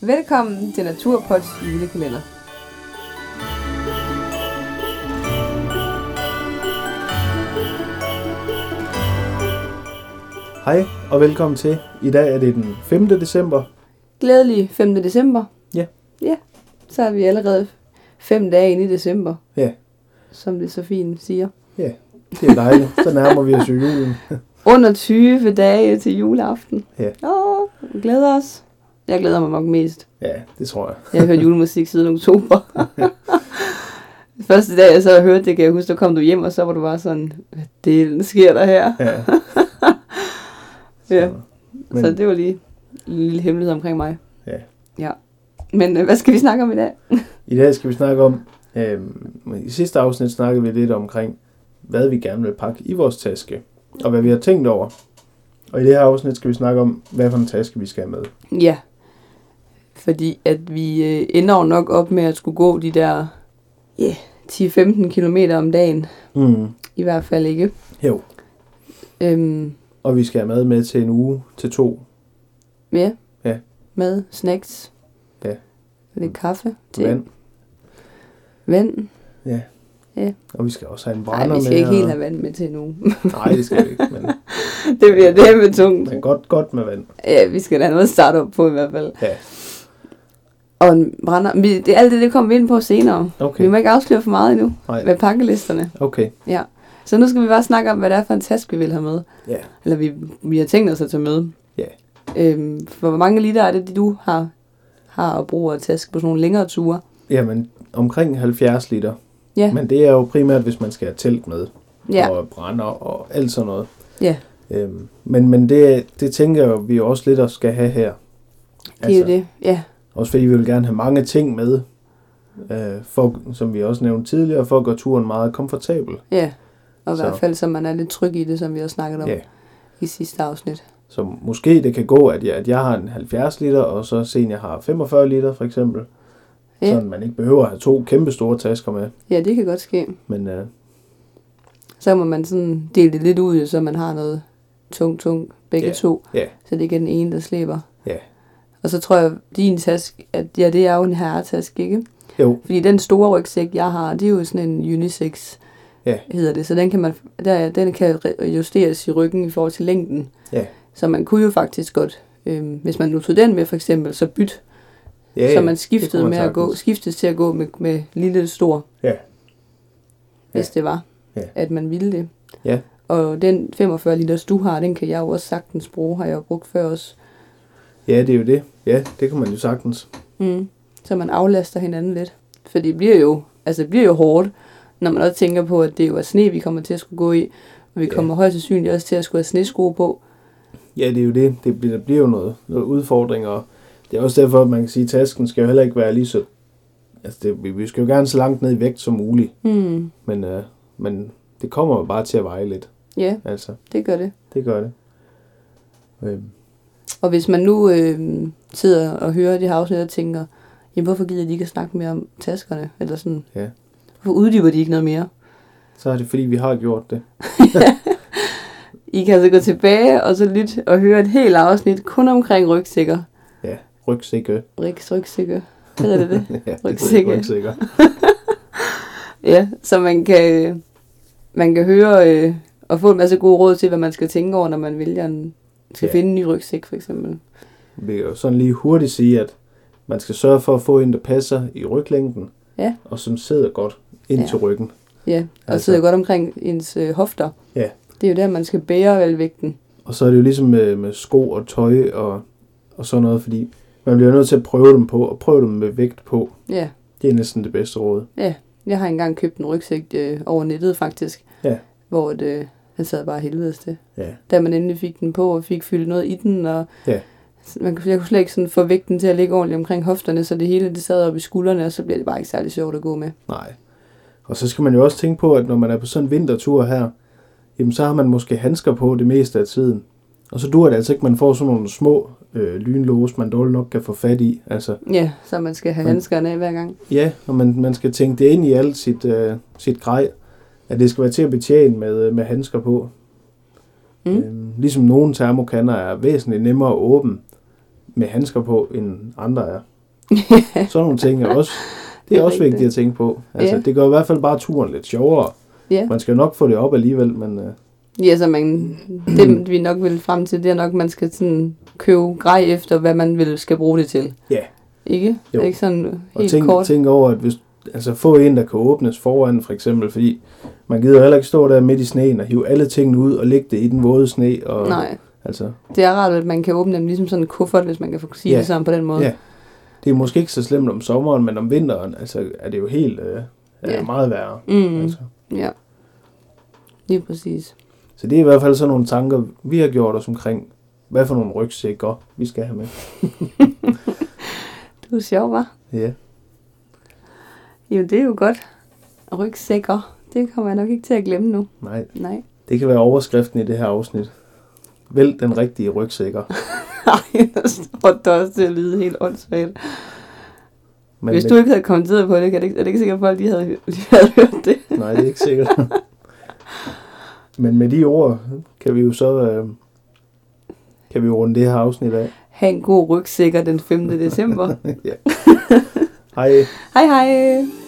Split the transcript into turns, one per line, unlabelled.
Velkommen til Naturpods julekalender.
Hej og velkommen til. I dag er det den 5. december.
Glædelig 5. december.
Ja.
Ja, så er vi allerede fem dage inde i december,
Ja,
som det så fint siger.
ja. Det er dejligt. Så nærmer vi os jo julen.
Under 20 dage til juleaften.
Ja.
Åh, vi glæder os. Jeg glæder mig nok mest.
Ja, det tror jeg.
Jeg har hørt julemusik siden oktober. Første dag, jeg så hørte det, kan jeg huske, der kom du hjem, og så var du bare sådan, hvad delen sker der her?
Ja.
Ja.
Men,
Så det var lige en lille hemmelighed omkring mig.
Ja.
ja. Men øh, hvad skal vi snakke om i dag?
I dag skal vi snakke om, øhm, i sidste afsnit snakkede vi lidt omkring, hvad vi gerne vil pakke i vores taske, og hvad vi har tænkt over. Og i det her afsnit skal vi snakke om, hvad for en taske vi skal have med.
Ja. Fordi at vi øh, ender jo nok op med at skulle gå de der yeah, 10-15 km om dagen.
Mm.
I hvert fald ikke.
Jo,
Øhm,
og vi skal have mad med til en uge, til to.
ja.
Ja.
Mad, snacks.
Ja.
Lidt kaffe. Te.
Vand.
Vand.
Ja.
Ja.
Og vi skal også have en brænder
Nej,
med.
vi skal ikke
og-
helt have vand med til nu.
Nej, det skal vi ikke, men,
det bliver det med tungt.
men godt, godt med vand.
Ja, vi skal da have noget at starte op på i hvert fald.
Ja,
Og en brænder. Vi, det, alt det, det kommer vi ind på senere.
okay.
Vi må ikke afsløre for meget endnu
Nej,
med pakkelisterne.
okay.
Ja. Så nu skal vi bare snakke om, hvad det er for en taske, vi vil have med.
Ja,
Eller vi, vi har tænkt os at tage med.
Ja.
Øhm, for hvor mange liter er det, du har, har og bruger af taske på sådan nogle længere ture?
jamen omkring 70 liter.
Ja.
Men det er jo primært, hvis man skal have telt med,
Ja,
og brænder og alt sådan noget.
Ja.
Øhm, men men det, det tænker jeg jo, vi også lidt at skal have her. Altså,
det er jo det. Ja,
Også fordi vi vil gerne have mange ting med, øh, for, som vi også nævnte tidligere, for at gøre turen meget komfortabel.
ja. Og i
Så.
hvert fald, så man er lidt tryg i det, som vi også snakkede om
Ja.
i sidste afsnit.
Så måske det kan gå, at jeg, at jeg har en 70 liter, og så senior har 45 liter for eksempel.
Ja.
Sådan man ikke behøver at have to kæmpe store tasker med.
Ja, det kan godt ske.
Men øh,
Så må man sådan dele det lidt ud, så man har noget tungt, tungt begge
Ja.
to.
ja,
Så det ikke er den ene, der slæber.
Ja.
Og så tror jeg, din taske, at ja, det er jo en herretaske, ikke?
jo,
Fordi den store rygsæk, jeg har, det er jo sådan en unisex,
Ja.
hedder det. Så den kan, man, der, den kan re- justeres i ryggen i forhold til længden.
Ja.
Så man kunne jo faktisk godt, øhm, hvis man nu tog den med for eksempel, så bytte.
ja,
så
ja,
man
det
skiftede
kunne
med at gå,
sagtens.
skiftes til at gå med, med lille eller stor.
Ja.
Hvis det var,
Ja.
at man ville det.
Ja.
Og den 45 liters, du har, den kan jeg jo også sagtens bruge, har jeg jo brugt før også.
Ja, det er jo det. Ja, det kan man jo sagtens.
Mm. Så man aflaster hinanden lidt. For det bliver jo, altså det bliver jo hårdt, når man også tænker på, at det jo er sne, vi kommer til at skulle gå i. Og vi
Ja.
kommer højst sandsynligt også til at skulle have snesko på.
Ja, det er jo det. det bliver, der bliver jo noget, noget udfordring, og det er også derfor, at man kan sige, at tasken skal jo heller ikke være lige så... Altså, det, vi- vi skal jo gerne så langt ned i vægt som muligt,
Mm.
men, øh, men det kommer jo bare til at veje lidt.
Ja,
Altså,
det gør det.
det gør det. Øh,
Og hvis man nu øh, sidder og hører det her afsnit og tænker, jamen hvorfor gider de ikke at snakke mere om taskerne? Eller sådan.
Ja.
Hvorfor uddyber de ikke noget mere?
så er det, fordi vi har gjort det.
I kan altså gå tilbage og så lytte og høre et helt afsnit kun omkring rygsækker.
Ja, rygsække.
Riks rygsækker. Hedder det det?
ja, det er
Rygsække.
rygsækker.
Ja, så man kan, man kan høre øh, og få en masse gode råd til, hvad man skal tænke over, når man vælger en, skal
Ja.
finde en ny rygsæk, for eksempel.
Vi kan jo sådan lige hurtigt sige, at man skal sørge for at få en, der passer i ryglængden,
Ja.
og som sidder godt ind
Ja.
ja. til ryggen.
Ja, og altså.
Altså.
sidder godt omkring ens øh, hofter.
Ja.
Det er jo der, man skal bære velvægten.
Og så er det jo ligesom med, med sko og tøj og, og sådan noget, fordi man bliver nødt til at prøve dem på, og prøve dem med vægt på.
Ja,
Det er næsten det bedste råd.
jeg har engang købt en rygsæk øh, over nettet, faktisk.
Ja.
Hvor det, øh, han sad bare helvedes til.
Ja.
Da man endelig fik den på, og fik fyldt noget i den, og
Ja.
man, kunne- jeg kunne slet ikke sådan få vægten til at ligge ordentligt omkring hofterne, så det hele det sad op i skuldrene, og så bliver det bare ikke særlig sjovt at gå med.
Nej. Og så skal man jo også tænke på, at når man er på sådan en vintertur her, jamen så har man måske handsker på det meste af tiden. Og så dur det altså ikke, at man får sådan nogle små øh, lynlås, man dårligt nok kan få fat i. Altså,
Ja, så man skal have
Men-
handskerne af hver gang.
Ja, og man, man skal tænke det ind i alt sit, øh, sit grej, at det skal være til at betjene med, øh, med handsker på. Øhm,
Mm.
Øh, ligesom nogle termokanner er væsentligt nemmere at åbne, med handsker på, end andre er. Sådan nogle ting er også, det er
er
også
rigtigt.
vigtigt at tænke på. Altså,
Ja.
Det gør i hvert fald bare turen lidt sjovere.
Ja.
Man skal nok få det op alligevel, men øh,
Ja, så man, det vi nok vil frem til, det er nok, at man skal sådan købe grej efter, hvad man vil skal bruge det til.
Ja.
Ikke?
Jo.
Jo. Ikke sådan
og
helt
tænk,
kort.
tænk over, at hvis, altså få en, der kan åbnes foran, for eksempel, fordi man gider jo heller ikke stå der midt i sneen og hive alle tingene ud og lægge det i den våde sne. Og,
Nej,
Altså,
det er rart, at man kan åbne dem ligesom sådan en kuffert, hvis man kan få- sige
Ja.
det sådan på den måde.
Ja. det er måske ikke så slemt om sommeren, men om vinteren altså, er det jo helt øh, er
Ja.
det meget værre.
Mm,
Altså.
ja. Lige præcis.
Så det er i hvert fald sådan nogle tanker, vi har gjort os omkring, hvad for nogle rygsækker vi skal have med.
Det var sjovt, hva'?
Ja.
Jo, det er jo godt. Rygsækker, det kommer jeg nok ikke til at glemme nu.
Nej,
Nej.
det kan være overskriften i det her afsnit. Vælg den rigtige rygsækker.
Nej, der står det også til at lyde helt åndssvagt.
Men
Hvis du ikke havde kommenteret på det, kan det ikke, er det ikke sikkert, at folk lige havde, lige havde hørt det.
Nej, det er ikke sikkert. Men med de ord kan vi jo så øh, kan vi jo runde det her afsnit af.
Ha' en god rygsækker den 5. december.
Hej.
hej hej!